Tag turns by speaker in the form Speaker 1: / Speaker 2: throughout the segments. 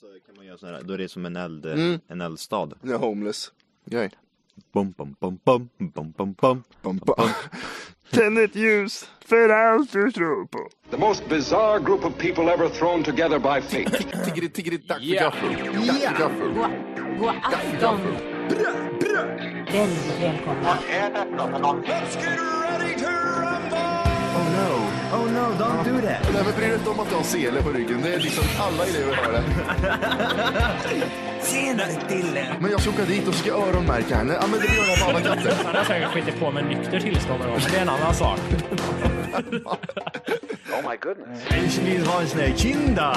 Speaker 1: Så kan man göra sån här, då är det som en, eld,
Speaker 2: eh,
Speaker 3: Mm.
Speaker 1: en eldstad.
Speaker 3: Den är homeless. Grej.
Speaker 1: Bum, bum, bum, bum, bum, bum, bum.
Speaker 3: Bum, bum. Tänd ett ljus för allt du tror på.
Speaker 4: The most bizarre group of people ever thrown together by fate.
Speaker 3: Tiggeri, tiggeri, dack för gaffel. Dack för gaffel.
Speaker 5: God afton. Väldigt välkomna.
Speaker 3: Oh no.
Speaker 1: Oh no, don't do that!
Speaker 3: Nej men bry dig inte om att du har sele på ryggen. Det är liksom alla elever har det.
Speaker 5: Tjena Dille!
Speaker 3: Men jag ska åka dit och ska öronmärka henne. Ja men det gör jag på alla katter.
Speaker 6: Han har säkert skitit på med nykter tillstånd någon gång, men det är en annan sak.
Speaker 4: Oh
Speaker 1: Jag vill ha en sån här kinda!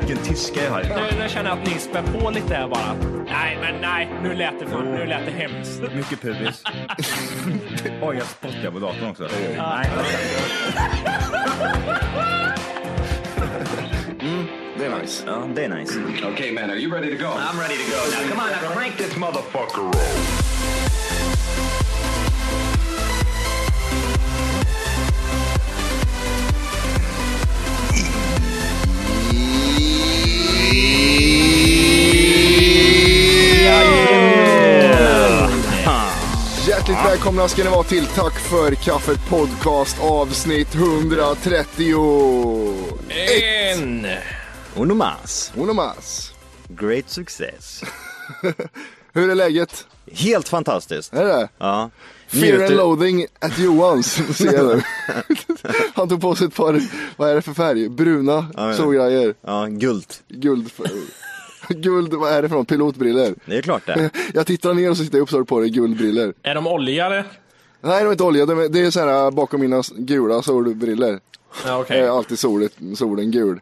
Speaker 1: Vilken tyska jag har.
Speaker 6: Nu, nu känner jag att ni spär på lite här bara. Nej, men nej. Nu lät det, för, nu lät det hemskt.
Speaker 2: Mycket pubis. Oj, jag spottar på datorn också.
Speaker 3: Det är nice.
Speaker 2: Ja, det är nice.
Speaker 4: okay, man, are you ready to go? I'm ready to go.
Speaker 3: Hjärtligt välkomna ska ni vara till Tack för kaffet podcast avsnitt 130.
Speaker 2: En! Uno más.
Speaker 3: Onomas.
Speaker 2: Great success.
Speaker 3: Hur är läget?
Speaker 2: Helt fantastiskt.
Speaker 3: Är det
Speaker 2: Ja.
Speaker 3: Fear and
Speaker 2: Njuter-
Speaker 3: loading at Johans, ser jag nu. Han tog på sig ett par, vad är det för färg? Bruna
Speaker 2: ja.
Speaker 3: solgrejer.
Speaker 2: Ja, guld.
Speaker 3: Guld, guld, vad är det för något? Pilotbriller.
Speaker 2: Det är klart det.
Speaker 3: Jag tittar ner och så tittar jag upp så har du på dig guldbriller.
Speaker 6: Är de oljade?
Speaker 3: Nej, de är inte olja. De är- Det är så här äh, bakom mina gula solbriller.
Speaker 6: Ja,
Speaker 3: Det
Speaker 6: okej.
Speaker 3: är alltid solet, solen gul.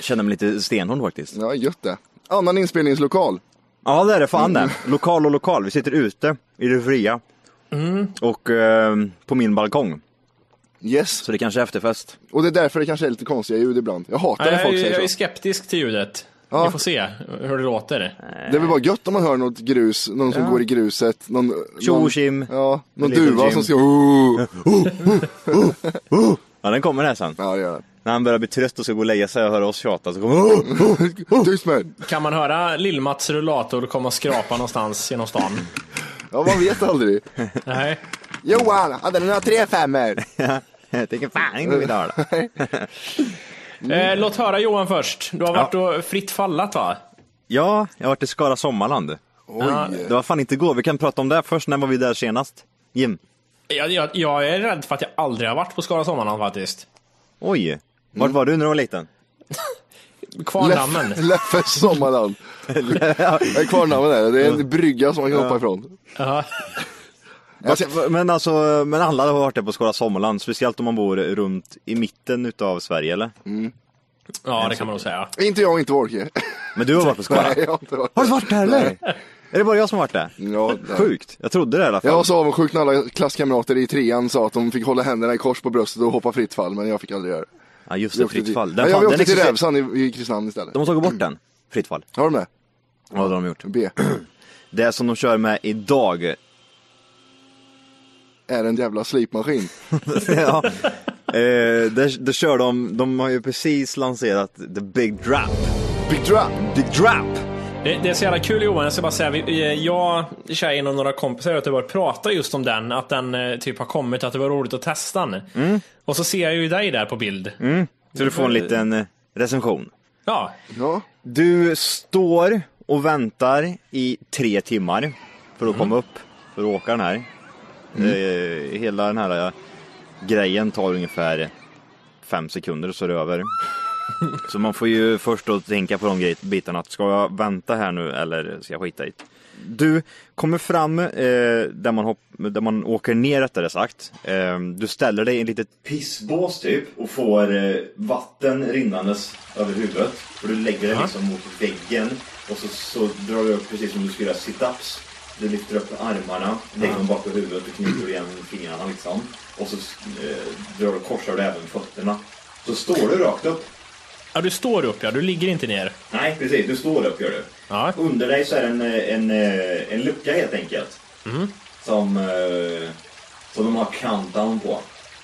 Speaker 2: Känner mig lite stenhård faktiskt.
Speaker 3: Ja, gött det. Annan inspelningslokal.
Speaker 2: Ja, det är det fan det. Lokal och lokal. Vi sitter ute i det fria.
Speaker 3: Mm.
Speaker 2: Och eh, på min balkong.
Speaker 3: Yes.
Speaker 2: Så det kanske är efterfest.
Speaker 3: Och det är därför det kanske är lite konstiga ljud ibland. Jag hatar när folk
Speaker 6: jag, jag
Speaker 3: säger
Speaker 6: är
Speaker 3: så.
Speaker 6: skeptisk till ljudet.
Speaker 3: Ja.
Speaker 6: Vi får se hur det låter.
Speaker 3: Det är väl bara gött om man hör något grus, någon som går i gruset. Någon,
Speaker 2: Tjo
Speaker 3: någon-
Speaker 2: och tjim.
Speaker 3: Ja, någon
Speaker 2: Little
Speaker 3: duva
Speaker 2: Jim.
Speaker 3: som ska... Oh, oh.
Speaker 2: Ja, den kommer här sen.
Speaker 3: Ja, det gör
Speaker 2: När han börjar bli trött och ska gå och lägga sig och höra oss tjata så kommer han. "Åh!"
Speaker 3: det. Tyst med er.
Speaker 6: Kan man höra Lill-Mats rullator komma och skrapa någonstans genom stan?
Speaker 3: Ja, man vet aldrig.
Speaker 6: Nej.
Speaker 3: Johan, hade ni några tre femmor?
Speaker 2: Jag tänker fan inte vi tar det.
Speaker 6: Eh, låt höra Johan först. Du har varit och fritt fallat va?
Speaker 2: Ja, jag har varit i Skara Sommarland.
Speaker 3: Oj.
Speaker 2: Det var fan inte igår, vi kan prata om det här först. När var vi där senast? Jim?
Speaker 6: Jag, jag, jag är rädd för att jag aldrig har varit på Skara Sommarland faktiskt.
Speaker 2: Oj. Vart
Speaker 3: Mm.
Speaker 2: var du när du var liten?
Speaker 6: Kvarndammen.
Speaker 3: Leff- Leffes sommarland. Nej, Kvarnhamn är det. Det är en brygga som man kan hoppa ifrån.
Speaker 6: Ja.
Speaker 2: Vart- Men alltså, men alla har varit där på Skara Sommarland. Speciellt om man bor runt i mitten utav Sverige eller?
Speaker 6: ja, det kan man nog säga.
Speaker 3: Inte jag och inte Wolke.
Speaker 2: Men du har varit på Skara?
Speaker 3: Nej, jag har inte varit
Speaker 2: Har du varit där eller? Är det bara jag som har varit där?
Speaker 3: Ja, nej.
Speaker 2: Sjukt. Jag trodde det i alla fall.
Speaker 3: Jag var så avundsjuk när alla klasskamrater i trean sa att de fick hålla händerna i kors på bröstet och hoppa fritt fall, men jag fick aldrig göra det.
Speaker 2: Ja, just
Speaker 3: Jag
Speaker 2: det.
Speaker 3: åkte
Speaker 2: Fritt
Speaker 3: till-
Speaker 2: fall.
Speaker 3: Nej, jag
Speaker 2: fan-
Speaker 3: åkte till
Speaker 2: existerar-
Speaker 3: Rävsan i, i Kristinehamn istället.
Speaker 2: De har tagit bort den. Fritt fall.
Speaker 3: Har de det?
Speaker 2: Ja, det har de gjort.
Speaker 3: B.
Speaker 2: Det som de kör med idag
Speaker 3: Är en jävla slipmaskin.
Speaker 2: ja. eh, där, där kör de, de har ju precis lanserat the big drop.
Speaker 3: Big drop!
Speaker 2: Big drop!
Speaker 6: Det, det är så jävla kul Johan, jag ska bara säga, vi- vi, jag, tjejen och några kompisar i Göteborg pratade just om den, att den eh, typ har kommit, att det var roligt att testa den.
Speaker 2: Mm.
Speaker 6: Och så ser jag ju dig där på bild.
Speaker 2: Så du får en liten eh, recension.
Speaker 6: Ja,
Speaker 3: Ja.
Speaker 2: Du står och väntar i tre timmar för att komma upp, för att åka den här. Eh, hela den här eh, grejen tar ungefär fem sekunder och så är det över. så man får ju först då tänka på de grej- bitarna, att ska jag vänta här nu eller ska jag skita i det? Du kommer fram eh, där, man hopp- där man åker ner rättare sagt. Eh, du ställer dig i en litet pissbås typ och får eh, vatten rinnandes över huvudet. Och du lägger dig liksom mot väggen och så, så drar du upp precis som du skulle göra sit-ups. Du lyfter upp armarna, lägger dem bakom huvudet och knyter igen fingrarna liksom. Och så eh, drar du, korsar du även fötterna. Så står du rakt upp.
Speaker 6: ja du står upp ja, du ligger inte ner.
Speaker 2: Nej, precis. Du står upp gör du.
Speaker 6: Ja.
Speaker 2: Under dig så är det en, en, eh, en lucka helt enkelt.
Speaker 3: Mhm.
Speaker 2: Som, eh, som de har countdown på.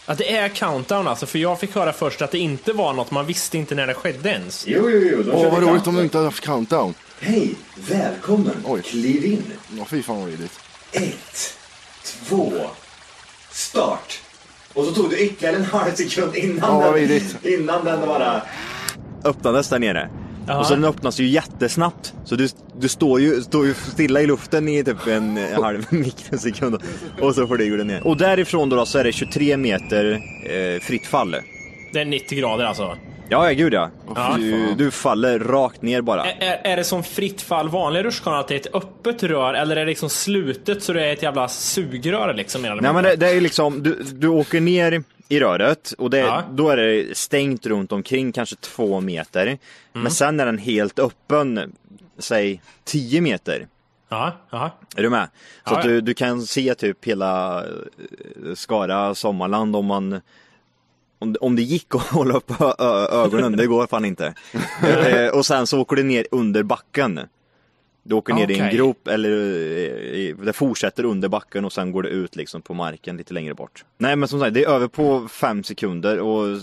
Speaker 6: Att det är countdown alltså, för jag fick höra först att det inte var något, man visste inte när det skedde ens.
Speaker 2: Jo, jo, jo. de
Speaker 3: Åh,
Speaker 2: körde
Speaker 3: vad roligt om
Speaker 2: countdown.
Speaker 3: du inte hade haft countdown.
Speaker 2: Hej! Välkommen!
Speaker 3: Oj.
Speaker 2: Kliv in!
Speaker 3: Ja, fy fan vad vidrigt.
Speaker 2: Ett, två, start! Och så tog du ytterligare en halv sekund innan,
Speaker 3: Ja, vad
Speaker 2: den,
Speaker 3: vidrigt.
Speaker 2: innan den bara... Öppnades där nere.
Speaker 6: Ja.
Speaker 2: Och så den öppnas ju jättesnabbt. Så du, du står, ju, står ju stilla i luften i typ en eh, halv mikrosekund. Och så flyger den ner. Och därifrån då, då så är det 23 meter eh, fritt fall.
Speaker 6: Det är 90 grader alltså.
Speaker 2: Ja, ja gud ja.
Speaker 3: Ja.
Speaker 2: Du, du faller rakt ner bara.
Speaker 6: Ä- Är, är det som fritt fall vanliga rutschkanor, att det är ett öppet rör, eller är det liksom slutet så det är ett jävla sugrör liksom? mer eller
Speaker 2: Nej men
Speaker 6: mindre?
Speaker 2: det, det är liksom, du, du åker ner i röret och det,
Speaker 6: Ja.
Speaker 2: då är det stängt runt omkring kanske två meter.
Speaker 6: Mm.
Speaker 2: Men sen är den helt öppen, säg 10 meter.
Speaker 6: Ja, ja.
Speaker 2: Är du med? Så
Speaker 6: Ja,
Speaker 2: att
Speaker 6: ja.
Speaker 2: du, du kan se typ hela eh, Skara Sommarland om man om, om det gick att hålla upp ö- ö- ögonen, det går fan inte. Eh, och sen så åker du ner under backen. Du åker ner i en
Speaker 6: Okej.
Speaker 2: grop eller eh, i- det fortsätter under backen och sen går det ut liksom på marken lite längre bort. Nej men som sagt, det är över på fem sekunder och,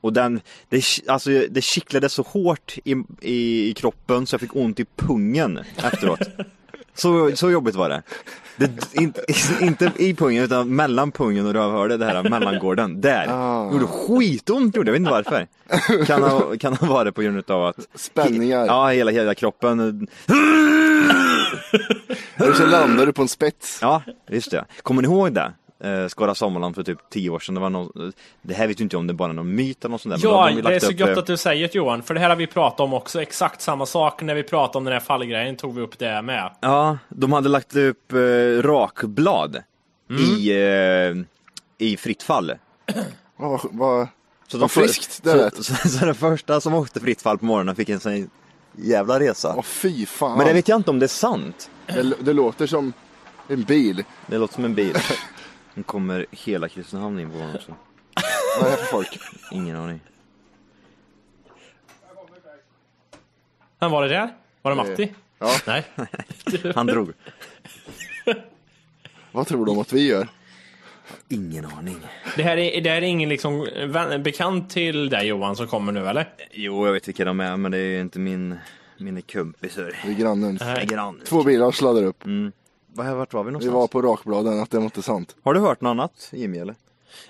Speaker 2: och den, det, ki- alltså, det kittlade så hårt i, i, i kroppen så jag fick ont i pungen efteråt. Så, så jobbigt var det. det inte, inte i pungen utan mellan pungen och rövhålet, det här mellangården. Där! Gjorde skitont gjorde det, jag vet inte varför. Kan ha, kan ha varit på grund av att...
Speaker 3: Spänningar.
Speaker 2: Ja, hela, hela kroppen.
Speaker 3: Och så landar du på en spets.
Speaker 2: Ja, just det. Kommer ni ihåg det? Eh, Skara Sommarland för typ tio år sedan. Det, var någon, det här vet ju inte om det är bara någon myt eller något sånt där. men då
Speaker 6: Ja,
Speaker 2: hade de ju
Speaker 6: det är
Speaker 2: lagt
Speaker 6: så
Speaker 2: upp,
Speaker 6: gött
Speaker 2: eh,
Speaker 6: att du säger det Johan, för det här har vi pratat om också, exakt samma sak när vi pratade om den här fallgrejen tog vi upp det med.
Speaker 2: Ja, de hade lagt upp eh, rakblad i,
Speaker 6: Mm.
Speaker 2: eh, i fritt fall.
Speaker 3: Ja, vad, vad,
Speaker 2: Så
Speaker 3: vad
Speaker 2: för-
Speaker 3: friskt det
Speaker 2: så,
Speaker 3: lät.
Speaker 2: så, så, den första som åkte fritt fall på morgonen fick en sån jävla resa.
Speaker 3: Åh fy fan.
Speaker 2: Men det vet jag inte om det är sant.
Speaker 3: det, det låter som en bil.
Speaker 2: Det låter som en bil. Nu kommer hela Kristinehamn in på honom också.
Speaker 3: Vad är det här för folk?
Speaker 2: Ingen aning.
Speaker 6: Men var det där? Var
Speaker 2: Eh,
Speaker 6: det Matti?
Speaker 3: Ja.
Speaker 6: Nej.
Speaker 2: Han drog.
Speaker 3: Vad tror de att vi gör?
Speaker 2: Ingen aning.
Speaker 6: Det här är, det här är ingen liksom vän, bekant till dig Johan som kommer nu eller?
Speaker 2: Jo, jag vet vilka de är, men det är ju inte min, mina kumpisar.
Speaker 3: Vi är grannen.
Speaker 2: Mina grannar.
Speaker 3: Två bilar sladdar upp.
Speaker 2: Mm. Vad här- Vart var vi
Speaker 3: Vi
Speaker 2: någonstans?
Speaker 3: var på rakbladen, att det var inte sant.
Speaker 2: Har du hört något annat, Jimmy? Eller?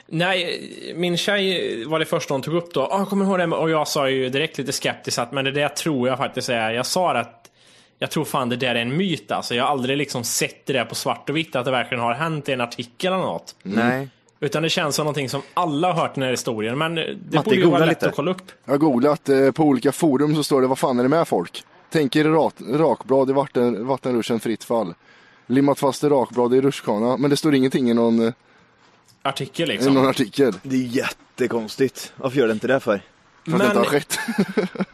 Speaker 6: Nej, min tjej var det första hon tog upp då. Ah, kommer du ihåg det? Och jag sa ju direkt lite skeptiskt att men det där tror jag faktiskt är. Jag sa det att jag tror fan det där är en myt alltså. Jag har aldrig liksom sett det där på svart och vitt att det verkligen har hänt i en artikel eller något.
Speaker 2: Nej.
Speaker 6: Utan det känns som någonting som alla har hört i den här historien. Men det borde ju
Speaker 2: googla
Speaker 6: vara lätt
Speaker 2: lite.
Speaker 6: att kolla upp.
Speaker 3: Jag har googlat eh, på olika forum så står det vad fan är det med folk? Tänker rat, rakblad i vatten, vattenrutschen fritt fall. Limmat fast i rakblad i rutschkana. Men det står ingenting i någon, eh,
Speaker 6: Artikel
Speaker 3: i
Speaker 6: liksom.
Speaker 3: någon artikel.
Speaker 2: Det är jättekonstigt. Varför gör det inte det för?
Speaker 3: För att Mm, det inte har
Speaker 6: Men-
Speaker 3: skett.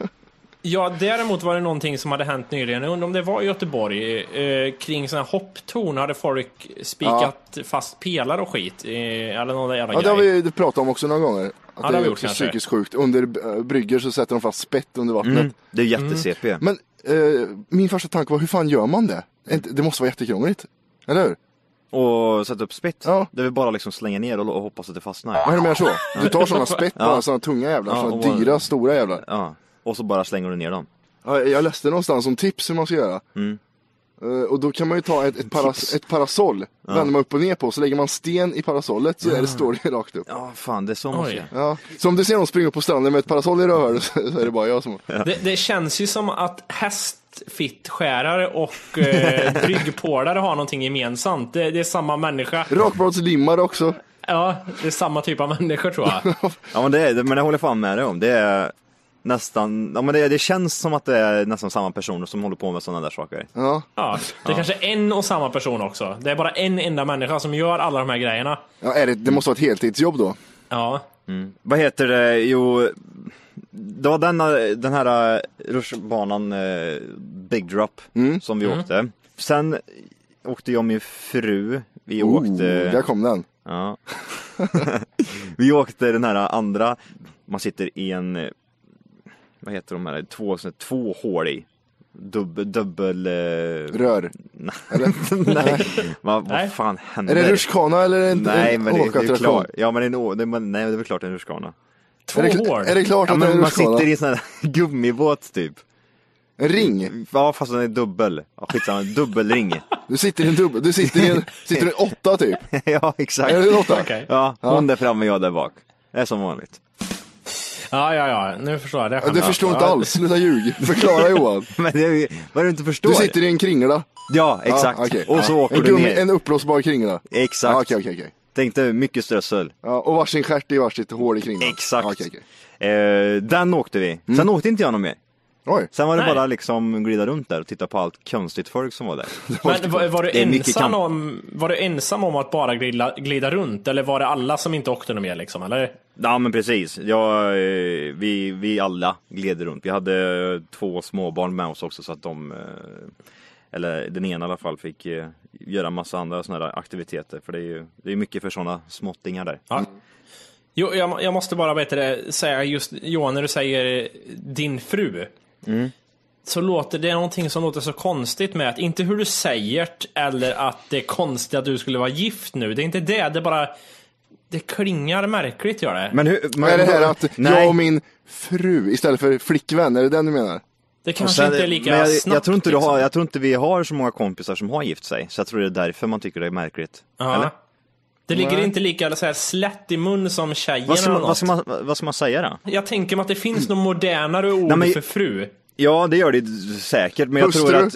Speaker 6: Ja, däremot var det någonting som hade hänt nyligen. Jag undrar om det var i Göteborg. Eh, kring sådana här hopptorn hade folk spikat fast pelar och skit. Eh, eller någon där jävla
Speaker 3: Ja, det har
Speaker 6: grej.
Speaker 3: vi pratat om också några gånger. Att
Speaker 6: det har
Speaker 3: det
Speaker 6: vi
Speaker 3: är
Speaker 6: gjort
Speaker 3: också
Speaker 6: kanske.
Speaker 3: psykiskt sjukt. Under eh, bryggor så sätter de fast spett under vattnet.
Speaker 2: Mm.
Speaker 6: Mm.
Speaker 2: Det är jätte-CP.
Speaker 3: Men eh, min första tanke var, hur fan gör man det? Inte- Det måste vara jättekrångligt. Eller hur?
Speaker 2: Och sätta upp spett.
Speaker 3: Ja.
Speaker 2: Det är väl bara liksom slänga ner och, och hoppas att det fastnar.
Speaker 3: Vad är det med så? Du tar sådana spett bara, sådana tunga jävlar,
Speaker 2: Ja,
Speaker 3: sådana
Speaker 2: och-
Speaker 3: dyra, stora jävlar.
Speaker 2: Ja. Och så bara slänger du ner dem.
Speaker 3: Ja, Jag läste någonstans om tips hur man ska göra.
Speaker 6: Mm.
Speaker 3: Eh, Och då kan man ju ta ett, ett, paras, ett parasoll, vänder man upp och ner på, så lägger man sten i parasollet så är det, står det rakt upp.
Speaker 2: Ja, fan det är så man
Speaker 6: Oj.
Speaker 2: ska
Speaker 3: Ja. Så om du ser någon springa upp på stranden med ett parasoll i rövhålet så är det bara jag som...
Speaker 6: Det, det känns ju som att hästfittskärare och eh, bryggpålare har någonting gemensamt. Det, det är samma människa.
Speaker 3: Rakbladslimmare också.
Speaker 6: Ja, det är samma typ av människor tror jag.
Speaker 2: Ja men det, är- men det håller jag fan med dig om. Det är nästan, ja men det, det känns som att det är nästan samma personer som håller på med sådana där saker.
Speaker 3: Ja.
Speaker 6: Ja, det är kanske är en och samma person också. Det är bara en enda människa som gör alla de här grejerna.
Speaker 3: Ja, är det,
Speaker 2: Mm.
Speaker 3: det måste vara ett heltidsjobb då.
Speaker 6: Ja,
Speaker 2: Vad heter det, jo, det var den, den här eh, rutschbanan eh, Big Drop som vi åkte. Sen åkte jag och min fru, vi
Speaker 3: Oh,
Speaker 2: åkte
Speaker 3: där kom den.
Speaker 2: Ja. vi åkte den här andra, man sitter i en, eh, vad heter de här, två, såna- två hål i. Dubbel, dubbel... eh,
Speaker 3: Rör.
Speaker 2: Nej, vad,
Speaker 6: Nej.
Speaker 2: vad fan händer?
Speaker 3: Är det rutschkana eller är det en,
Speaker 2: Nej
Speaker 3: en
Speaker 2: men det, det är ju
Speaker 3: åkattraktion?
Speaker 2: klart, ja men det är en, å- det, men, nej det är väl klart det är en rutschkana.
Speaker 6: två
Speaker 3: Är det,
Speaker 6: hål.
Speaker 3: kl- är det klart
Speaker 2: Ja,
Speaker 3: att det är
Speaker 2: men
Speaker 3: en
Speaker 2: man
Speaker 3: rutschkana?
Speaker 2: sitter i en sån här gummibåt typ.
Speaker 3: En ring?
Speaker 2: Ja fast den är dubbel, ja, skitsamma, dubbelring.
Speaker 3: Du sitter i en dubbel, du sitter i en, sitter i en åtta typ.
Speaker 2: ja
Speaker 3: Är
Speaker 2: exakt.
Speaker 3: det en åtta?
Speaker 6: Okej.
Speaker 2: Ja, hon där framme och jag där bak. Det är som vanligt.
Speaker 6: Ja, ja, ja, nu förstår jag. Det,
Speaker 3: Ja, Det förstår inte alls, sluta ljug. Förklara Johan.
Speaker 2: Men det är ju, vad du inte förstår.
Speaker 3: Du sitter i en kringla.
Speaker 2: Ja, exakt.
Speaker 3: Ja, okej.
Speaker 2: Och så
Speaker 3: Ja.
Speaker 2: åker
Speaker 3: en
Speaker 2: du ner.
Speaker 3: En uppblåsbar kringla.
Speaker 2: Exakt.
Speaker 3: Ja, okej, okej, okej.
Speaker 2: Tänk dig mycket strössel.
Speaker 3: Ja, och varsin stjärt i varsitt hål i kringlan.
Speaker 2: Exakt.
Speaker 3: Ja, okej, okej. Mm.
Speaker 2: Eh, den åkte vi. Sen åkte inte jag någon mer.
Speaker 3: Oj,
Speaker 2: Sen var det
Speaker 6: Nej.
Speaker 2: bara liksom glida runt där och titta på allt konstigt folk som var där.
Speaker 6: Men var, var, du
Speaker 2: Det är mycket
Speaker 6: ensam
Speaker 2: kamp.
Speaker 6: om, var du ensam om att bara glida, glida runt? Eller var det alla som inte åkte något mer liksom? Eller?
Speaker 2: Ja men precis. Jag, eh, vi, vi alla gled runt. Vi hade eh, två småbarn med oss också så att de, eh, eller den ena i alla fall, fick eh, göra massa andra sådana här aktiviteter. För det är ju det är mycket för sådana småttingar där.
Speaker 6: Ja. Jo, jag, jag måste bara bättre säga just Johan, när du säger din fru.
Speaker 2: Mm.
Speaker 6: Så låter det är någonting som låter så konstigt med att, inte hur du säger det, eller att det är konstigt att du skulle vara gift nu. Det är inte det, det är bara, det klingar märkligt gör det.
Speaker 2: Men hur, men,
Speaker 3: är det här att
Speaker 2: Nej.
Speaker 3: jag och min fru istället för flickvän, är det den du menar?
Speaker 6: det
Speaker 2: Och
Speaker 6: kanske
Speaker 2: sen-
Speaker 6: inte är lika
Speaker 2: men jag,
Speaker 6: snabbt.
Speaker 2: jag, tror inte du
Speaker 6: liksom.
Speaker 2: har, jag tror inte vi har så många kompisar som har gift sig, så jag tror det är därför man tycker det är märkligt.
Speaker 6: liksom. Ja.
Speaker 2: Eller?
Speaker 6: Det ligger inte lika så här, slätt i mun som tjejerna.
Speaker 2: Vad ska, man,
Speaker 6: och
Speaker 2: vad, ska
Speaker 6: något.
Speaker 2: man, vad ska man säga då?
Speaker 6: Jag tänker mig att det finns något modernare ord
Speaker 2: Nej, men-
Speaker 6: för fru.
Speaker 2: Ja, det gör det säkert, men jag
Speaker 3: Hustru.
Speaker 2: tror att...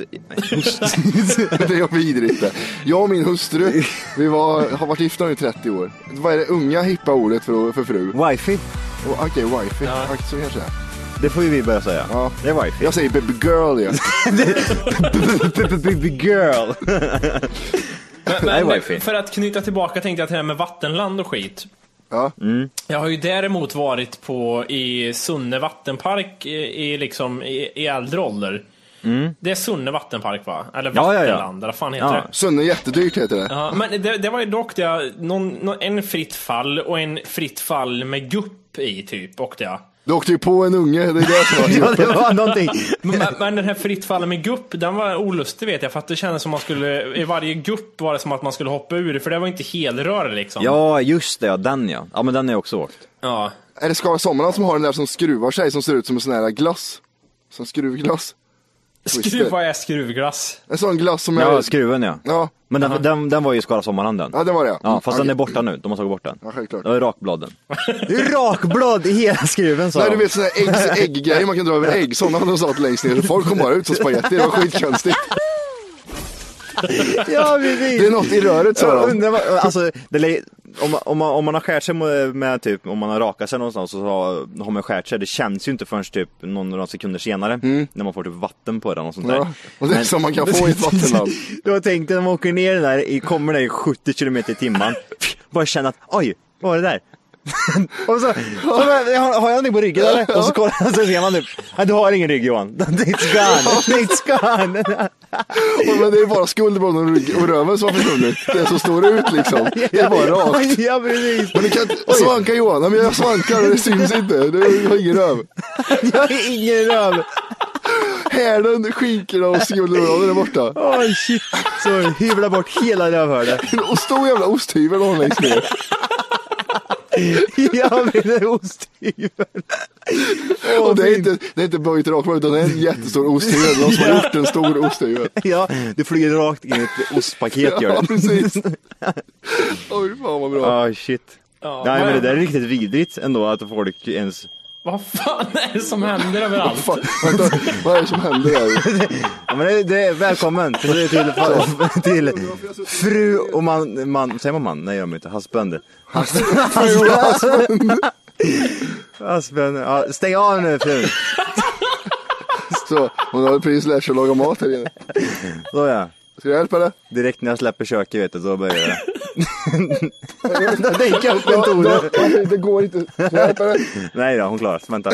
Speaker 3: det är vidrigt det. Jag och min hustru, vi var, har varit gifta nu i 30 år. Vad är det unga hippa ordet för, för fru?
Speaker 2: Wifey,
Speaker 3: Och- Okej, wifey. Ja. Så kanske det är.
Speaker 2: det får ju vi börja säga.
Speaker 3: Ja.
Speaker 2: Det är wifey.
Speaker 3: Jag säger baby girl ja.
Speaker 2: Girl! Det är wifey.
Speaker 6: För att knyta tillbaka tänkte jag till det här med vattenland och skit.
Speaker 3: ja.
Speaker 2: Mm.
Speaker 6: Jag har ju däremot varit på i Sunne vattenpark i, i, liksom, i, i äldre ålder. Det är Sunne vattenpark va? Eller
Speaker 2: Mm. Ja, ja, ja.
Speaker 6: Vattenland, eller vad fan heter
Speaker 2: Ja.
Speaker 6: det?
Speaker 3: Sunne jättedyrt heter det.
Speaker 6: Ja, men det, det var ju dock det, någon, någon, en fritt fall och en fritt fall med gupp i typ, åkte jag.
Speaker 3: Du åkte ju på en unge, det är det som var
Speaker 2: Ja, det var någonting.
Speaker 6: Men, men den här fritt fallen med gupp, den var olustig vet jag, för att det kändes som man skulle, i varje gupp var det som att man skulle hoppa ur, för det var inte helrör liksom.
Speaker 2: Ja, just det, ja, den ja. Ja, men den är också åkt.
Speaker 6: Ja.
Speaker 3: Är det Skara Sommarland som har den där som skruvar sig som ser ut som en sån här glass? Som skruvglass?
Speaker 6: Skruva är skruvglass.
Speaker 3: En sån glass som är...
Speaker 2: Ja, skruven ja.
Speaker 3: Ja.
Speaker 2: Men den, den, den var ju i Skara Sommarland den.
Speaker 3: Ja, det var det.
Speaker 2: Ja, fast den
Speaker 3: Okej.
Speaker 2: är borta nu. De har tagit bort den.
Speaker 3: Ja, självklart.
Speaker 2: Det var rakbladen. Det är rakblad i hela skruven sa
Speaker 3: Nej
Speaker 2: de.
Speaker 3: du vet sådana här äggs- ägg-grejer man kan dra över ägg, sådana hade de satt längst ner så folk kom bara ut som spagetti, det var skitkonstigt.
Speaker 2: Ja, precis.
Speaker 3: Det är något i röret sa
Speaker 2: Jag
Speaker 3: de.
Speaker 2: undrar vad- Alltså, det lä- om, man- om, man, om man har skärt sig med, med typ, om man har rakat sig någonstans och så har, har man skärt sig, det känns ju inte förrän typ någon, några sekunder senare när man får typ vatten på den och sånt där.
Speaker 3: Mm. Ja, och det är
Speaker 2: Men-
Speaker 3: som man kan få i ett vattenland.
Speaker 2: Då tänkte jag när man åker ner den där, i- kommer där i 70 kilometer i timmen, bara känna att oj, vad var det där? och så, så bara, har, har jag någonting på ryggen eller? Och så kollar jag, så ser man typ, nej du har ingen rygg Johan. It's gone, it's gone.
Speaker 3: Och, men det är bara skulderbladen och rygg- och röven som har försvunnit. Det som står ut liksom. Det är bara rakt.
Speaker 2: Ja precis.
Speaker 3: Men du kan inte svanka Johan, Nej, men jag svankar och det syns inte. Du har ingen röv.
Speaker 2: Jag har ingen röv.
Speaker 3: Hälen, skinkorna och skulderbladen är borta.
Speaker 2: Åh shit. Så hyvla bort hela rövhörnet.
Speaker 3: Och stor jävla osthyvel har hon längst ner.
Speaker 2: Jag vill ha osthyveln.
Speaker 3: och det är inte, det är inte böjt rakblad utan det är en jättestor osthuvud. Någon som har gjort en stor osthuvud.
Speaker 2: Ja, det flyger rakt in i ett ostpaket gör
Speaker 3: Ja,
Speaker 2: det.
Speaker 3: precis. Oj, fan vad bra.
Speaker 2: Ah shit. Nej men det där är riktigt vidrigt ändå att folk ens
Speaker 6: Vad fan är det som händer överallt?
Speaker 3: Fan, vänta, vad är det som händer där?
Speaker 2: Ja, men det, det är välkommen till, till, till fru och man, man, säger man man? Nej gör man inte, husband. Husband. Husband. Ja, stäng av nu frun.
Speaker 3: Så, hon har precis lärt sig att laga mat här inne.
Speaker 2: Så ja,
Speaker 3: Ska jag hjälpa dig?
Speaker 2: direkt när jag släpper köket vet du, då börjar det. Då dyker jag upp kontoret.
Speaker 3: Det går inte. Ska jag hjälpa dig?
Speaker 2: Nej då, hon klarar sig, vänta.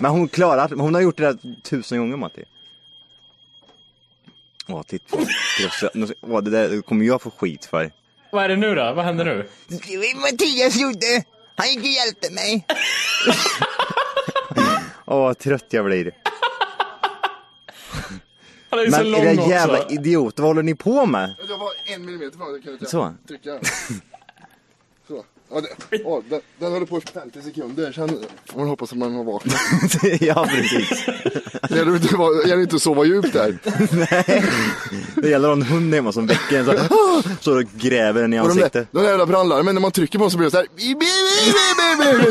Speaker 2: Men hon klarar hon har gjort det där tusen gånger Matti. Åh, titta. Nu- Åh, det där kommer jag få skit för.
Speaker 6: Vad är det nu då? Vad händer nu?
Speaker 2: Mattias gjorde. Han gick och hjälpte mig. Åh, vad trött jag blir.
Speaker 6: Han är ju så
Speaker 2: Men
Speaker 6: lång
Speaker 2: era
Speaker 6: också.
Speaker 2: jävla idioter, vad håller ni på med?
Speaker 3: Jag var en millimeter från att jag kunde trycka.
Speaker 2: Så.
Speaker 3: trycka. Så. Ja, det, åh, den, den håller på i 50 sekunder, sen får man hoppas att man har vaknat.
Speaker 2: ja, precis.
Speaker 3: Det gäller inte att vara- det gäller inte att sova djupt där.
Speaker 2: Det gäller en hund hemma som väcker en så här, så och gräver den i
Speaker 3: Och de, där,
Speaker 2: ansiktet.
Speaker 3: de där jävla brandlarmen, när man trycker på dem så blir det så här. "Bi, bi, bi, bi, bi, bi."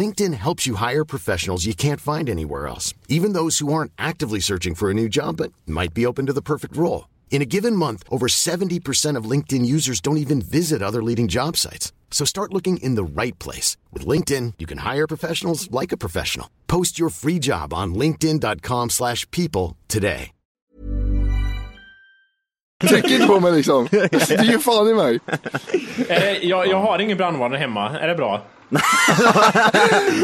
Speaker 7: LinkedIn helps you hire professionals you can't find anywhere else, even those who aren't actively searching for a new job but might be open to the perfect role. In a given month, over 70% of LinkedIn users don't even visit other leading job sites. So start looking in the right place. With LinkedIn, you can hire professionals like a professional. Post your free job on linkedin.com/people slash people today.
Speaker 3: Trycker inte på mig liksom. Det ger fan i mig.
Speaker 6: Eh, jag, jag har ingen brandvarnare hemma, är det bra?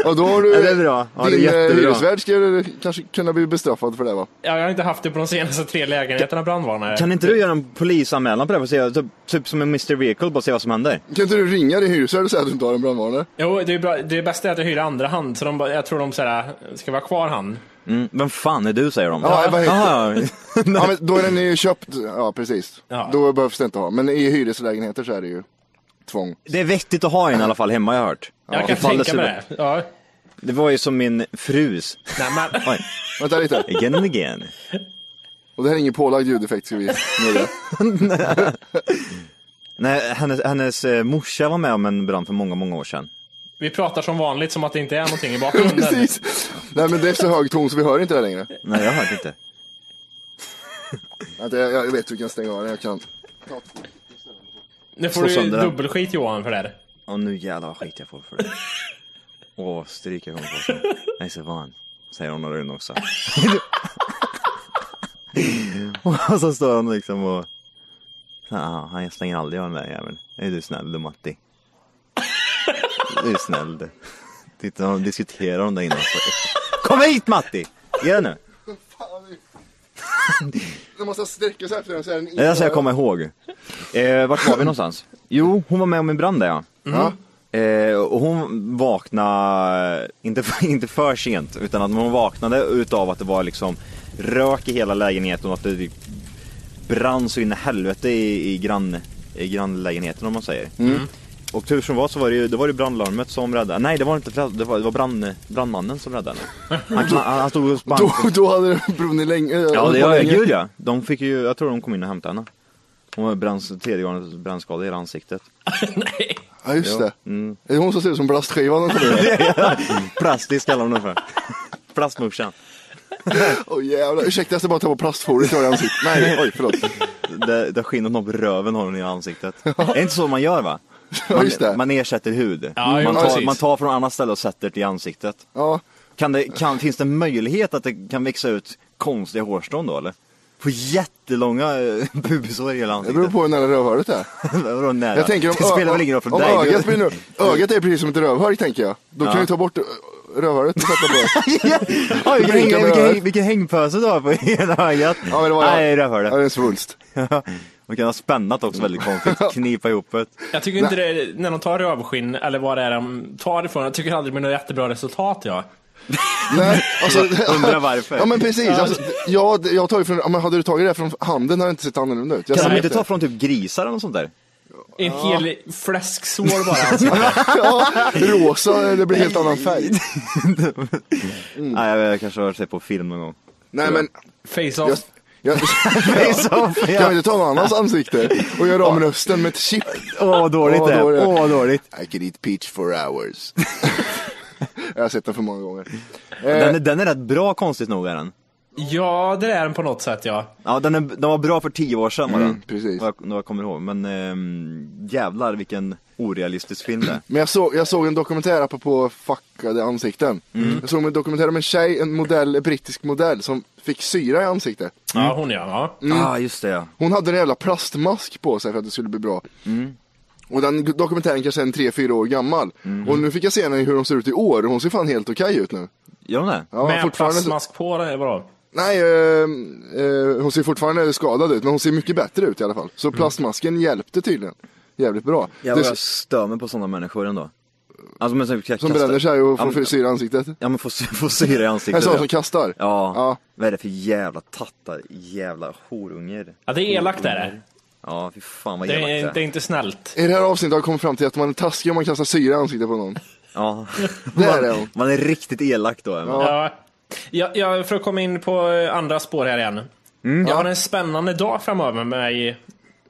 Speaker 3: Och då har du,
Speaker 2: Ja, det är bra. Ja, det är
Speaker 3: din eh,
Speaker 2: jättebra.
Speaker 3: hyresvärd skulle kanske kunna bli bestraffad för det va?
Speaker 6: Ja, Jag har inte haft det på de senaste tre lägenheterna, brandvarnare.
Speaker 2: Kan inte du göra en polisanmälan på det här för att se, typ, typ som en Mr Vehicle, bara se vad som händer?
Speaker 3: Kan inte du ringa din hyresvärd och säga att du inte har en brandvarnare?
Speaker 6: Jo, det, är bra, det bästa är att jag hyr andra hand, så de, bara- jag tror de såhär, ska vara kvar han.
Speaker 2: Mm, vem fan är du säger de.
Speaker 3: Ja, vad heter-
Speaker 2: Ah,
Speaker 3: Ja, men då är den ju köpt, ja precis.
Speaker 6: Ja.
Speaker 3: Då behövs det inte ha. Men i hyreslägenheter så är det ju tvång.
Speaker 2: det är vettigt att ha en i alla fall hemma har jag hört.
Speaker 6: Jag kan
Speaker 2: Ifall
Speaker 6: tänka
Speaker 2: skulle-
Speaker 6: mig det. Ja.
Speaker 2: Det var ju som min frus.
Speaker 6: Nej, men,
Speaker 2: Oj,
Speaker 3: Vänta lite.
Speaker 2: again and again.
Speaker 3: Och det här är ingen pålagd ljudeffekt ska vi nöja.
Speaker 2: Nej, hennes, hennes eh, morsa var med om en brand för många, många år sedan.
Speaker 6: vi pratar som vanligt som att det inte är någonting i bakgrunden.
Speaker 3: Precis. Nej men det är så hög ton så vi hör inte det längre.
Speaker 2: Nej, jag hörde inte.
Speaker 3: Vänta, jag, jag vet hur vi kan stänga av den. Jag kan.
Speaker 6: nu får
Speaker 2: Slå
Speaker 6: du ju
Speaker 2: sönder den.
Speaker 6: dubbelskit Johan för det här.
Speaker 2: Och nu jävlar vad skit jag får för det. Åh, stryk jag kommer på. sen. Jag är så van. Säger hon och Rune också. och så står han liksom och... Ah, han stänger aldrig av den där jäveln. Är du snäll du Matti? Du är snäll du. Titta, de diskuterar om det innan. Kom hit Matti! Ge det nu!
Speaker 3: När man ska sträcka sig efter den så är den inte...
Speaker 2: Det där ska jag komma ihåg. Eh, vart var vi någonstans? Jo, hon var med om en brand där ja.
Speaker 3: Ja.
Speaker 2: Eh, och hon vaknade, inte för, inte för sent, utan att hon vaknade utav att det var liksom rök i hela lägenheten och att det typ brann så in i helvete i, i, grann, i grannlägenheten om man säger. Och tur som var så var det ju, det var ju brandlarmet som räddade, nej det var inte, det var, det var brand, brandmannen som räddade henne. Han, kna- han, han stod och spank.
Speaker 3: Då, då hade det brunnit länge. eh,
Speaker 2: Ja, det gör jag.
Speaker 3: länge.
Speaker 2: Gud ja. De fick ju, jag tror de kom in och hämtade henne. Hon var brann, tredje gången brännskada i hela ansiktet.
Speaker 3: Ja, just det. Är det hon som ser ut som plastskivan när hon kommer in?
Speaker 2: Plastisk kallar de det för. Plastmorsan.
Speaker 3: Åh jävlar. Ursäkta, jag ska bara ta på plastfoliet. Jag har i ansiktet. Nej, oj, förlåt.
Speaker 2: Där, där skinnet någon på röven har hon i ansiktet. Är det inte så man gör va?
Speaker 3: Ja, just det.
Speaker 2: Man ersätter hud.
Speaker 6: Ja, jo,
Speaker 2: man, tar,
Speaker 6: precis.
Speaker 2: man tar från annat ställe och sätter det i ansiktet.
Speaker 3: Ja.
Speaker 2: Kan det, kan, finns det möjlighet att det kan växa ut konstiga hårstrån då eller? På jättelånga eh, bubisår i hela
Speaker 3: Det beror
Speaker 2: ansiktet.
Speaker 3: på hur nära rövhålet är.
Speaker 2: Vadå nära?
Speaker 3: Jag tänker om,
Speaker 2: det spelar väl ingen roll för dig? Mm.
Speaker 3: Ögat, blir nu, ögat är precis som ett rövhål tänker jag. Då kan
Speaker 2: Ja.
Speaker 3: vi ta bort rövhålet och sätta på.
Speaker 2: Oj, vilken,
Speaker 3: Blinka
Speaker 2: vilken,
Speaker 3: med
Speaker 2: vilken,
Speaker 3: ögat.
Speaker 2: vilken hängpöse du har på ena ögat.
Speaker 3: Ja, men det var jag.
Speaker 2: Nej, det hörde
Speaker 3: Ja, det är en svulst.
Speaker 2: Man kan ha spännat också väldigt konstigt, knipa ihop det.
Speaker 6: Jag tycker inte det, när de tar rövskinn, eller vad det är de tar ifrån, jag tycker aldrig det blir något jättebra resultat ja.
Speaker 3: Nej, alltså,
Speaker 2: Undrar varför.
Speaker 3: Ja men precis. Alltså, jag, jag tar ju från, ja, men hade du tagit det här från handen hade det inte sett annorlunda ut. Jag
Speaker 2: Kan
Speaker 3: ser
Speaker 2: de inte
Speaker 3: det.
Speaker 2: ta från typ grisar eller något sånt där?
Speaker 6: En hel fläsksår bara. Alltså.
Speaker 3: ja, rosa, det blir helt annan färg. Mm.
Speaker 2: Nej, jag, jag kanske har sett på film någon gång.
Speaker 3: Nej men, jag,
Speaker 6: Face-off.
Speaker 3: jag,
Speaker 2: Face off,
Speaker 3: kan vi
Speaker 2: ja.
Speaker 3: inte ta någon annans ansikte och göra om rösten med ett chip?
Speaker 2: Åh, vad dåligt det är.
Speaker 3: Åh,
Speaker 2: Åh, vad dåligt.
Speaker 3: I could eat peach for hours. jag har sett den för många gånger.
Speaker 2: Mm.
Speaker 3: Eh,
Speaker 2: Den är, den är rätt bra konstigt nog är den.
Speaker 6: Ja, det är den på något sätt ja.
Speaker 2: Ja, den, är, den var bra för tio år sedan var den.
Speaker 3: Mm, precis.
Speaker 2: Vad jag, vad jag kommer ihåg. Men ehm, jävlar vilken orealistisk film det är.
Speaker 3: Men jag såg, jag såg en dokumentär apropå fuckade ansikten.
Speaker 2: Mm.
Speaker 3: Jag såg en dokumentär om en tjej, en modell, en brittisk modell som fick syra i ansiktet.
Speaker 6: Ja, hon ja. ja.
Speaker 3: Mm.
Speaker 2: Ah, just det ja.
Speaker 3: Hon hade en jävla plastmask på sig för att det skulle bli bra.
Speaker 2: Mm.
Speaker 3: Och den dokumentären kanske är en 3-4 år gammal.
Speaker 2: Mm.
Speaker 3: Och nu fick jag se henne hur hon ser ut i år och hon ser fan helt okej ut nu.
Speaker 2: Gör hon det?
Speaker 3: Ja,
Speaker 6: Med
Speaker 3: fortfarande-
Speaker 6: plastmask på, det är bra.
Speaker 3: Nej, eh, eh, hon ser fortfarande skadad ut men hon ser mycket bättre ut i alla fall. Så plastmasken hjälpte tydligen. Jävligt bra.
Speaker 2: Jävlar, Mm.
Speaker 3: Det-
Speaker 2: jag stör mig på sådana människor ändå. Alltså, men, som
Speaker 3: som bränner sig och får frisyr i ansiktet.
Speaker 2: Ja men få, sy- få syra i
Speaker 3: En
Speaker 2: ansiktet.
Speaker 3: sån
Speaker 2: ja.
Speaker 3: som kastar.
Speaker 2: Ja.
Speaker 3: Ja.
Speaker 2: vad är det för jävla tattar? Jävla horunger.
Speaker 6: Ja, det är elakt är det.
Speaker 2: Ja, fy fan vad
Speaker 6: Det är,
Speaker 2: elakt
Speaker 6: inte- det
Speaker 2: det
Speaker 6: är
Speaker 2: är.
Speaker 6: inte snällt.
Speaker 3: I det här avsnittet har jag kommit fram till att man är taskig om man kastar syra i ansiktet på någon.
Speaker 2: Ja.
Speaker 3: Det är det.
Speaker 2: man, man är riktigt elak då. är man.
Speaker 6: Ja. Ja, ja, för att komma in på eh, andra spår här igen. Jag har en spännande dag framöver mig.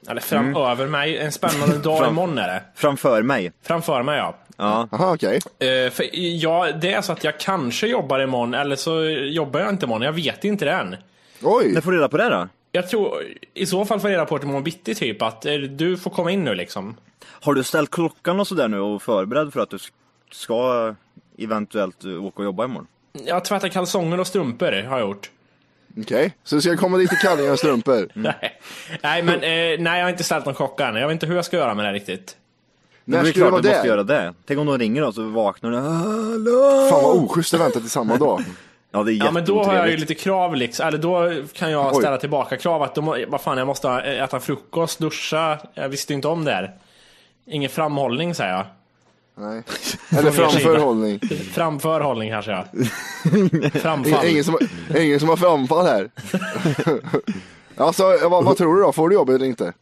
Speaker 6: Eller framöver mig. En spännande dag
Speaker 2: Fram-
Speaker 6: imorgon är det.
Speaker 2: Framför mig.
Speaker 6: Framför mig ja.
Speaker 2: Ja.
Speaker 3: Aha, okej.
Speaker 6: Eh, för ja, det är så att jag kanske jobbar imorgon eller så jobbar jag inte imorgon. Jag vet inte det än.
Speaker 2: När
Speaker 3: Oj.
Speaker 2: får du reda på det då?
Speaker 6: Jag tror i så fall får jag reda på det imorgon bitti typ att eh, du får komma in nu liksom.
Speaker 2: Har du ställt klockan och sådär nu och förberedd för att du s- ska eventuellt eh, åka och jobba imorgon?
Speaker 6: Jag tvättar kalsonger och strumpor har jag gjort.
Speaker 3: Okej. Så du ska komma dit i kallingar och strumpor?
Speaker 6: Nej. nej men eh, nej jag har inte ställt någon klocka än. Jag vet inte hur jag ska göra med det riktigt.
Speaker 3: När
Speaker 2: det är
Speaker 3: ska du
Speaker 2: klart
Speaker 3: vara
Speaker 2: du måste
Speaker 3: där?
Speaker 2: göra det. Tänk om någon ringer då så vaknar du. Hallå!
Speaker 3: Fan vad oschysst att vänta till samma dag.
Speaker 2: Ja det är
Speaker 6: Ja men då har jag ju
Speaker 2: jätteotrevligt.
Speaker 6: lite krav liksom, eller då kan jag
Speaker 3: Oj.
Speaker 6: ställa tillbaka krav att då, må- vad fan jag måste ha- eh, äta frukost, duscha, jag visste ju inte om det här. Ingen framhållning säger jag.
Speaker 3: Nej. Eller
Speaker 6: Från er sida.
Speaker 3: framförhållning.
Speaker 6: Framförhållning kanske jag. Framfall.
Speaker 3: Ingen som, ingen som har framfall här. alltså, vad, vad tror du då? Får du jobbet eller inte?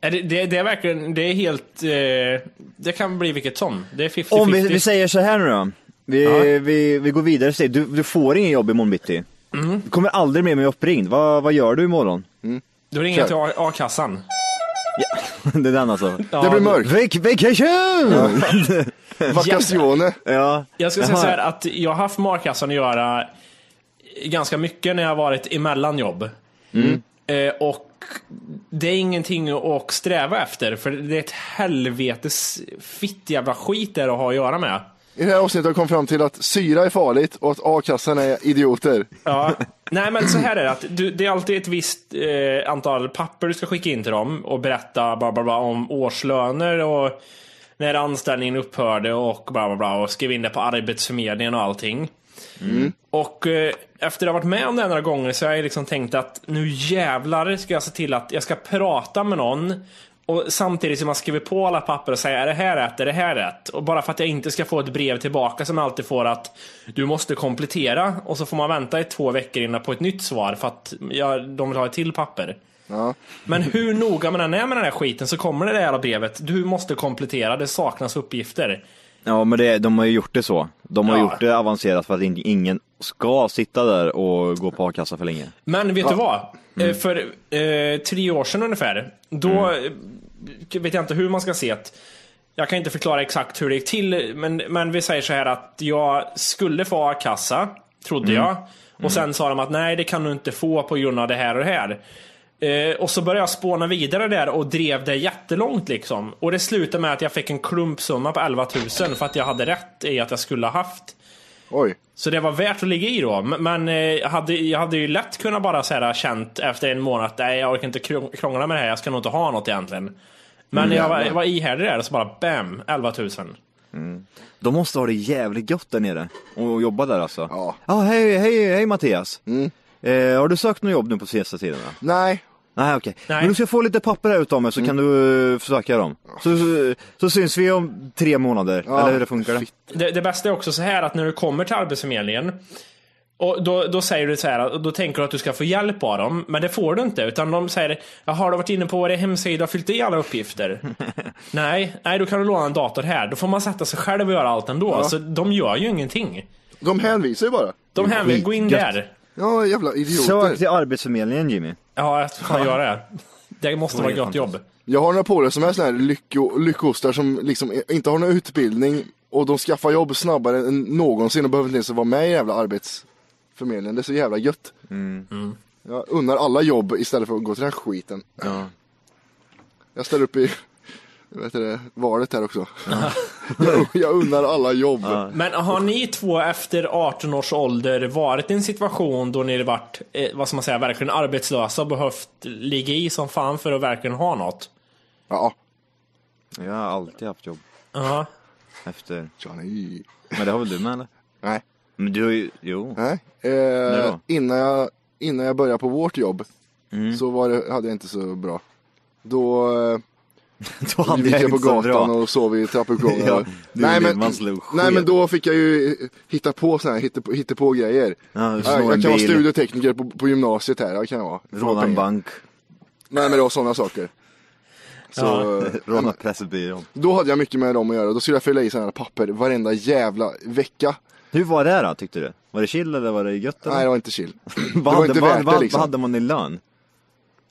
Speaker 6: Är Det, det, det är verkligen, det är helt, eh, det kan bli vilket som. Det är 50-50.
Speaker 2: Om vi, vi säger så här nu då. Vi, vi, vi går vidare och säger, du, du får ingen jobb imorgon bitti.
Speaker 6: Mm.
Speaker 2: Du kommer aldrig mer bli uppringd. Vad, vad gör du imorgon?
Speaker 6: Då ringer jag till A- a-kassan.
Speaker 2: det är den alltså.
Speaker 6: Ja,
Speaker 3: det blir mörkt.
Speaker 2: Vac- vacation!
Speaker 3: Vacazione.
Speaker 2: Ja.
Speaker 6: Jag ska säga
Speaker 2: Jaha.
Speaker 6: så här att jag har haft med a-kassan att göra ganska mycket när jag har varit emellan jobb.
Speaker 2: Mm.
Speaker 6: Eh, och det är ingenting att sträva efter, för det är ett helvetes fitt jävla skit där att ha att göra med.
Speaker 3: I det här avsnittet har jag kommit fram till att syra är farligt och att a-kassan är idioter.
Speaker 6: Ja. Nej men så här är det, att du, det är alltid ett visst eh, antal papper du ska skicka in till dem och berätta bla, bla, bla, om årslöner och när anställningen upphörde och bla bla bla och skriva in det på Arbetsförmedlingen och allting. Och eh, efter att ha varit med om det här några gånger så har jag liksom tänkt att nu jävlar ska jag se till att jag ska prata med någon och samtidigt som man skriver på alla papper och säger är det här rätt, är det här rätt? Och bara för att jag inte ska få ett brev tillbaka som jag alltid får att du måste komplettera och så får man vänta i två veckor innan på ett nytt svar för att jag, de vill ha ett till papper.
Speaker 3: Ja.
Speaker 6: Men hur noga man än är med den här skiten så kommer det där jävla brevet. Du måste komplettera, det saknas uppgifter.
Speaker 2: Ja men det, de har ju gjort det så. De har
Speaker 6: Ja.
Speaker 2: gjort det avancerat för att in- ingen ska sitta där och gå på a-kassa för länge.
Speaker 6: Men vet du vad? Eh, För eh, tre år sedan ungefär, då eh, vet jag inte hur man ska se det. Jag kan inte förklara exakt hur det gick till, men, men vi säger så här att jag skulle få a-kassa, trodde jag. Och sen sa de att nej, det kan du inte få på grund av det här och det här. Eh, och så började jag spåna vidare där och drev det jättelångt liksom. Och det slutade med att jag fick en klumpsumma på 11 000 för att jag hade rätt i att jag skulle ha haft.
Speaker 3: Oj.
Speaker 6: Så det var värt att ligga i då. Men- Men eh, jag hade, jag hade ju lätt kunnat bara så här, känt efter en månad att nej, jag orkar inte krång- krångla med det här. Jag ska nog inte ha något egentligen. Men jag var, jag var ihärdig där och så bara bam, 11 000.
Speaker 2: Mm. De måste ha det jävligt gött där nere och jobba där alltså. Ja. Ja, hej, hej, hej Mattias. Eh, har du sökt något jobb nu på senaste tiden? Då?
Speaker 3: Nej.
Speaker 2: Nej okej, men du ska få lite papper här utav mig så kan du eh, försöka dem. Så, så, så syns vi om tre månader, eller hur det funkar det?
Speaker 6: Det, det bästa är också så här att när du kommer till Arbetsförmedlingen och då, då säger du så här, och då tänker du att du ska få hjälp av dem, men det får du inte. Utan de säger, jaha, har du varit inne på vår hemsida och fyllt i alla uppgifter? nej, nej, då kan du låna en dator här. Då får man sätta sig själv och göra allt ändå.
Speaker 3: Ja.
Speaker 6: Så de gör ju ingenting.
Speaker 3: De hänvisar ju bara.
Speaker 6: De hänvisar, gå in
Speaker 2: Skitgött.
Speaker 6: där.
Speaker 3: Ja, jävla idioter.
Speaker 2: Sök till Arbetsförmedlingen Jimmy.
Speaker 6: Ja, jag ska fan göra det. Det måste
Speaker 2: Det
Speaker 6: vara
Speaker 2: är
Speaker 6: gött jobb.
Speaker 3: Jag har några polare som är såna här lycko, lyckostar som liksom inte har någon utbildning och de skaffar jobb snabbare än någonsin och behöver inte ens vara med i jävla arbetsförmedlingen. Det är så jävla gött.
Speaker 6: Mm.
Speaker 3: Jag unnar alla jobb istället för att gå till den här skiten. Jag ställer upp i vet du, det, valet här också. jag, jag unnar alla jobb.
Speaker 6: Men har ni två efter 18 års ålder varit i en situation då ni varit, eh, vad ska man säga, verkligen arbetslösa och behövt ligga i som fan för att verkligen ha något?
Speaker 3: Ja.
Speaker 2: Jag har alltid haft jobb
Speaker 6: Ja.
Speaker 2: efter.
Speaker 3: Johnny.
Speaker 2: Men det har väl du med eller?
Speaker 3: Nej.
Speaker 2: Men du har ju, jo.
Speaker 3: Nej.
Speaker 2: När
Speaker 3: Eh,
Speaker 2: då?
Speaker 3: innan, jag, innan jag började på vårt jobb
Speaker 2: Mm.
Speaker 3: så var det, hade jag inte så bra. Då, eh,
Speaker 2: Då hade
Speaker 3: gick
Speaker 2: jag
Speaker 3: jag på
Speaker 2: inte så
Speaker 3: gatan
Speaker 2: bra.
Speaker 3: och sov i trappuppgången.
Speaker 2: Ja, du
Speaker 3: nej,
Speaker 2: och
Speaker 3: men,
Speaker 2: Lindman slog sked.
Speaker 3: nej men då fick jag ju eh, hitta på sådana här hittepå, hittepå grejer.
Speaker 2: Ja, du
Speaker 3: jag
Speaker 2: snor en
Speaker 3: kan vara
Speaker 2: bil.
Speaker 3: studiotekniker på, på gymnasiet här, det kan jag vara. Få
Speaker 2: Råna en
Speaker 3: pengar.
Speaker 2: bank,
Speaker 3: Nej men det var sådana saker. Så, eh,
Speaker 2: råna Pressbyrån.
Speaker 3: Då hade jag mycket med dem att göra, då skulle jag fylla i sådana här papper varenda jävla vecka.
Speaker 2: Hur var det då tyckte du? Var det chill eller var det gött? Eller?
Speaker 3: Nej det var inte chill.
Speaker 2: vad,
Speaker 3: var
Speaker 2: hade,
Speaker 3: inte
Speaker 2: vad,
Speaker 3: värt det,
Speaker 2: vad,
Speaker 3: liksom.
Speaker 2: vad hade man i lön?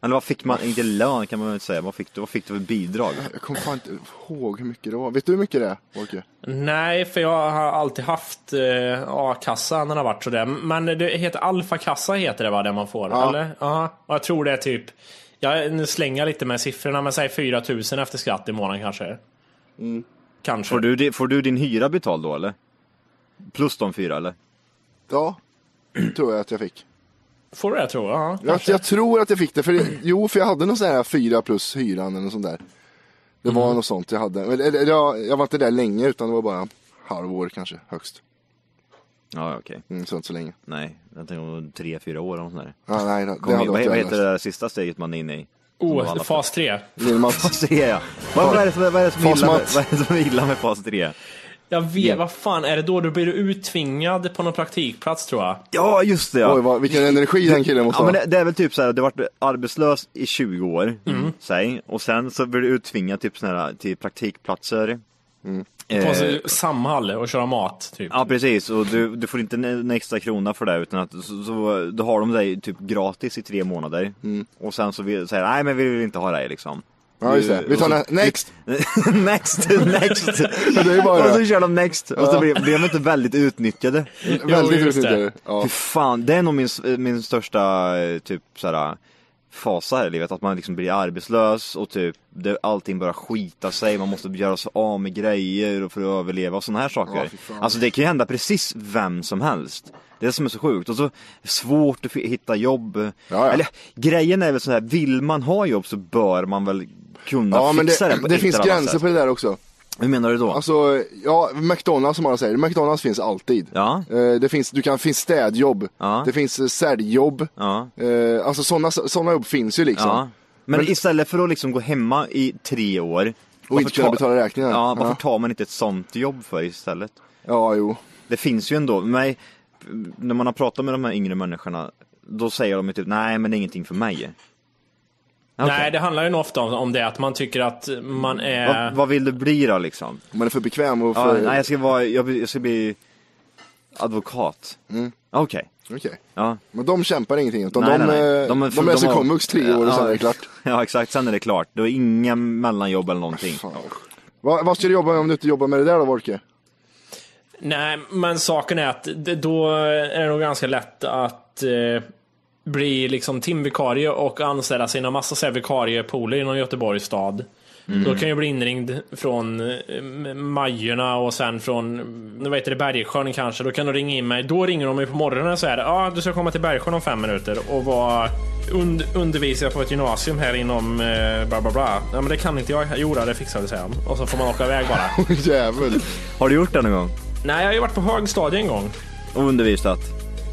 Speaker 2: Eller vad fick man, inte lön kan man väl inte säga, vad fick du, vad fick du för bidrag?
Speaker 3: Jag kommer fan inte ihåg hur mycket det var. Vet du hur mycket det är, Orke?
Speaker 6: Nej, för jag har alltid haft eh, a-kassa när det har varit sådär. Men det heter alfakassa heter det va, det man får?
Speaker 3: Ja.
Speaker 6: Eller? Ja. Och jag tror det är typ, jag nu slänger jag lite med siffrorna, men säg 4000 efter skatt i månaden kanske. Mm. Kanske.
Speaker 2: Får du, di- får du din hyra betald då eller? Plus de fyra eller?
Speaker 3: Ja, tror jag att jag fick.
Speaker 6: Får du det tror jag. Ja,
Speaker 3: Jag,
Speaker 6: kanske.
Speaker 3: jag tror att jag fick det, för jo, för jag hade någon sån här fyra plus hyran eller något sånt där. Det var
Speaker 2: Mm.
Speaker 3: något sånt jag hade. Men, eller, jag, jag var inte där länge, utan det var bara halvår kanske, högst.
Speaker 2: Ja ja, okej.
Speaker 3: Mm, så inte så länge.
Speaker 2: Nej, jag tänker om tre, fyra år eller sånt där.
Speaker 3: Ja, nej, det, det
Speaker 2: Kom,
Speaker 3: hade
Speaker 2: vad,
Speaker 3: varit
Speaker 2: vad heter det
Speaker 3: värdelöst.
Speaker 2: där sista steget man är inne i?
Speaker 6: oh, fas 3.
Speaker 3: Lill-Mats.
Speaker 2: Fas 3 ja. Vad, vad, är det, som- vad, är det som
Speaker 3: Fas
Speaker 2: illa med,
Speaker 3: mat.
Speaker 2: vad är det som är illa med fas 3?
Speaker 6: Jag vet, vad fan är det då? Då blir du uttvingad på någon praktikplats tror jag.
Speaker 2: Ja just det ja.
Speaker 3: Oj, vad, vilken energi den killen måste
Speaker 2: Ja,
Speaker 3: ha.
Speaker 2: men det, det är väl typ så här, du har varit arbetslös i 20 år,
Speaker 3: Mm.
Speaker 2: säg, och sen så blir du uttvingad typ sån här, till praktikplatser.
Speaker 3: Mm.
Speaker 6: På
Speaker 2: Eh,
Speaker 6: eh. Samhall och köra mat, typ.
Speaker 2: ja precis, och du, du får inte en, en extra krona för det utan att så, så, då har de dig typ gratis i tre månader. Och sen så vill, säger de, nej men vi vill inte ha dig liksom.
Speaker 3: Ja, just det. Vi tar
Speaker 2: Och
Speaker 3: nä- next.
Speaker 2: next, next!
Speaker 3: det är bara
Speaker 2: och så
Speaker 3: det.
Speaker 2: kör de next, och så blir, blir de inte väldigt utnyttjade.
Speaker 3: Väldigt
Speaker 6: just det.
Speaker 3: utnyttjade. Ja.
Speaker 2: Fy fan, det är nog min, min största eh, typ såhär fasa här i livet, att man liksom blir arbetslös och typ det, allting börjar skita sig, man måste göra sig av med grejer och för att överleva och sådana här saker. alltså det kan ju hända precis vem som helst. Det är det som är så sjukt. Och så svårt att fi- hitta jobb.
Speaker 3: ja.
Speaker 2: Eller grejen är väl så här, vill man ha jobb så bör man väl kunna
Speaker 3: Ja, men
Speaker 2: fixa det
Speaker 3: det,
Speaker 2: på alltså.
Speaker 3: det
Speaker 2: ett
Speaker 3: finns
Speaker 2: eller annat
Speaker 3: gränser
Speaker 2: sätt.
Speaker 3: för det där också.
Speaker 2: Hur menar du då?
Speaker 3: Alltså, ja, McDonalds som alla säger, McDonalds finns alltid.
Speaker 2: Ja.
Speaker 3: Eh, Det finns, du kan, finns städjobb,
Speaker 2: Ja.
Speaker 3: det finns eh, säljjobb.
Speaker 2: Ja.
Speaker 3: Eh, Alltså sådana såna jobb finns ju liksom.
Speaker 2: Ja. Men, istället för att liksom gå hemma i tre år varför
Speaker 3: inte kunna
Speaker 2: ta-
Speaker 3: betala räkningar.
Speaker 2: Ja, varför
Speaker 3: Ja.
Speaker 2: tar man inte ett sånt jobb för istället?
Speaker 3: Ja, jo.
Speaker 2: Det finns ju ändå, mig, när man har pratat med de här yngre människorna då säger de ju typ nej men det är ingenting för mig. Okej.
Speaker 6: Nej, det handlar ju nog ofta om, om det att man tycker att man är...
Speaker 2: Vad, vad vill du bli då liksom?
Speaker 3: Man är för bekväm och
Speaker 2: Ja,
Speaker 3: för...
Speaker 2: nej jag ska vara, jag, blir- jag ska bli advokat. Okej.
Speaker 3: Okej.
Speaker 2: Ja.
Speaker 3: Men de kämpar ingenting, utan
Speaker 2: Nej,
Speaker 3: Mm. de,
Speaker 2: nej, nej.
Speaker 3: eh, de,
Speaker 2: för-
Speaker 3: läser
Speaker 2: har-
Speaker 3: komvux tre år och sen är det klart.
Speaker 2: Ja exakt, sen är det klart. Det är inga mellanjobb eller någonting.
Speaker 3: Va, vad ska du jobba med om du inte jobbar med det där då, Wolke?
Speaker 6: Nej, men saken är att det, då är det nog ganska lätt att eh, bli liksom timvikarie och anställa sina massa så här vikariepooler inom Göteborgs stad. Mm. Då kan jag bli inringd från eh, Majorna och sen från vad heter det, Bergsjön kanske. Då kan de ringa in mig. Då ringer de mig på morgonen och säger ah, du ska komma till Bergsjön om fem minuter och vara und undervisare på ett gymnasium här inom eh, bla bla bla. Ja, men det kan inte jag. Jo, då, det fixar vi, säger han. Och så får man åka iväg bara.
Speaker 3: Jävel.
Speaker 2: Har du gjort det någon gång?
Speaker 6: Nej, jag har ju varit på högstadiet en gång.
Speaker 2: Och undervisat?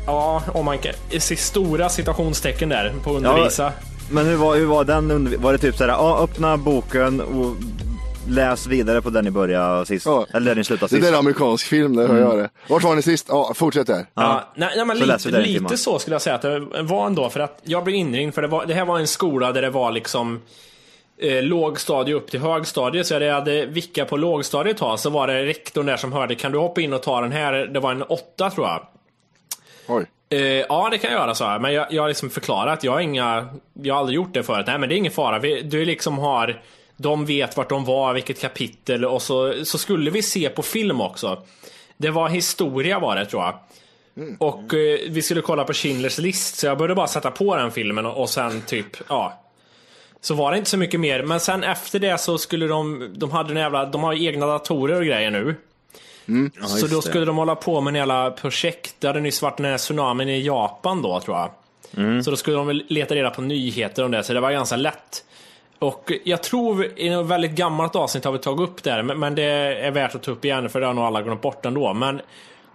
Speaker 6: Ja, om man kan. i Stora citationstecken där på undervisa.
Speaker 2: Men hur var, hur var den undervi- Var det typ såhär, ja öppna boken och läs vidare på den ni började sist? Eller där ni slutade
Speaker 3: Det
Speaker 2: sist? Mm.
Speaker 3: där är amerikansk film, det hör jag det. Vart var ni sist? Ja, fortsätt där.
Speaker 6: Ja, nej, nej, men
Speaker 2: så läser vi
Speaker 6: lite,
Speaker 2: den i timmar.
Speaker 6: lite så skulle jag säga att det var ändå. För att jag blev inringd, för det, var, det här var en skola där det var liksom eh, lågstadie upp till högstadiet. Så jag hade vicka på lågstadiet ett tag, så var det rektorn där som hörde, kan du hoppa in och ta den här? Det var en åtta tror jag.
Speaker 3: Oj.
Speaker 6: Eh, ja, det kan jag göra, sa jag. Men jag, jag har liksom förklarat, jag har, inga, jag har aldrig gjort det förut. Nej, men det är ingen fara. Vi, du liksom har, de vet vart de var, vilket kapitel och så, så skulle vi se på film också. Det var historia var det tror jag. Och eh, vi skulle kolla på Schindler's list, så jag började bara sätta på den filmen och, och sen typ, ja. Så var det inte så mycket mer, men sen efter det så skulle de, de hade en jävla, de har ju egna datorer och grejer nu. Så då skulle de hålla på med en jävla projekt. Det hade nyss varit den här tsunamin i Japan då tror jag. Så då skulle de väl leta reda på nyheter om det, så det var ganska lätt. Och jag tror i något väldigt gammalt avsnitt har vi tagit upp det här, men men det är värt att ta upp igen för det har nog alla glömt bort ändå. Men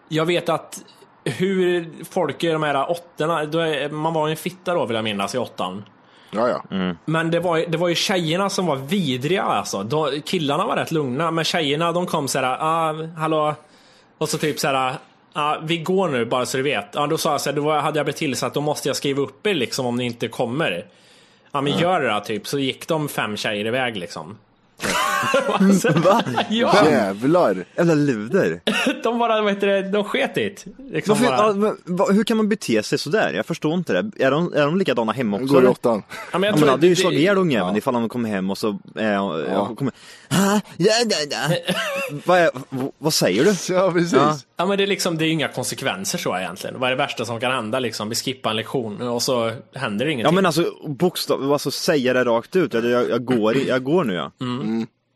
Speaker 6: jag vet att hur folk i de här åttorna, då är, man var ju en fitta då vill jag minnas i åttan.
Speaker 3: Ja, ja.
Speaker 2: Mm.
Speaker 6: Men det var, ju- det var ju tjejerna som var vidriga alltså. De, killarna var rätt lugna, men tjejerna de kom såhär, ah, hallå? Och så typ såhär, ah, vi går nu bara så du vet. Ja, då sa jag såhär, då var- hade jag blivit tillsatt, då måste jag skriva upp er liksom om ni inte kommer. Ja men gör det då typ, så gick de fem tjejer iväg liksom. alltså,
Speaker 2: Mm, Va?
Speaker 6: ja,
Speaker 3: Jävlar.
Speaker 2: Jävla luder.
Speaker 6: de bara, vad heter det, de sket i det. liksom
Speaker 2: Varför, ja,
Speaker 6: bara.
Speaker 2: men, vad- hur kan man bete sig sådär? Jag förstår inte det. Är de, är de likadana hemma
Speaker 3: Den
Speaker 2: också?
Speaker 3: går i
Speaker 2: eller?
Speaker 3: åttan.
Speaker 6: Ja, men
Speaker 2: Ja,
Speaker 6: jag
Speaker 2: men
Speaker 6: tror
Speaker 2: han hade ju
Speaker 6: det-
Speaker 2: slagit ihjäl ungjäveln ifall han kom hem och så... Eh, ja. Kommer, "Ha? ja, ja, ja. vad, är, v- vad säger du?
Speaker 3: Ja, precis.
Speaker 2: Ja.
Speaker 6: Ja men det är liksom, det är ju inga konsekvenser så egentligen. Vad är det värsta som kan hända liksom? Vi skippar en lektion och så händer det
Speaker 2: Ja
Speaker 6: ingenting.
Speaker 2: men alltså bokstav, alltså säga det rakt ut. Jag, jag, jag, går, i- jag går nu ja.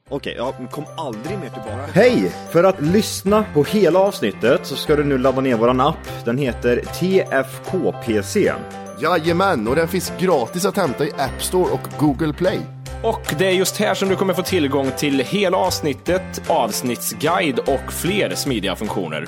Speaker 2: Okej, ja, men kom aldrig mer tillbaka. Hej! För att lyssna på hela avsnittet så ska du nu ladda ner våran app. Den heter TFKPC.
Speaker 3: Jajamän, och den finns gratis att hämta i App Store och Google Play.
Speaker 8: Och det är just här som du kommer få tillgång till hela avsnittet, avsnittsguide och fler smidiga funktioner.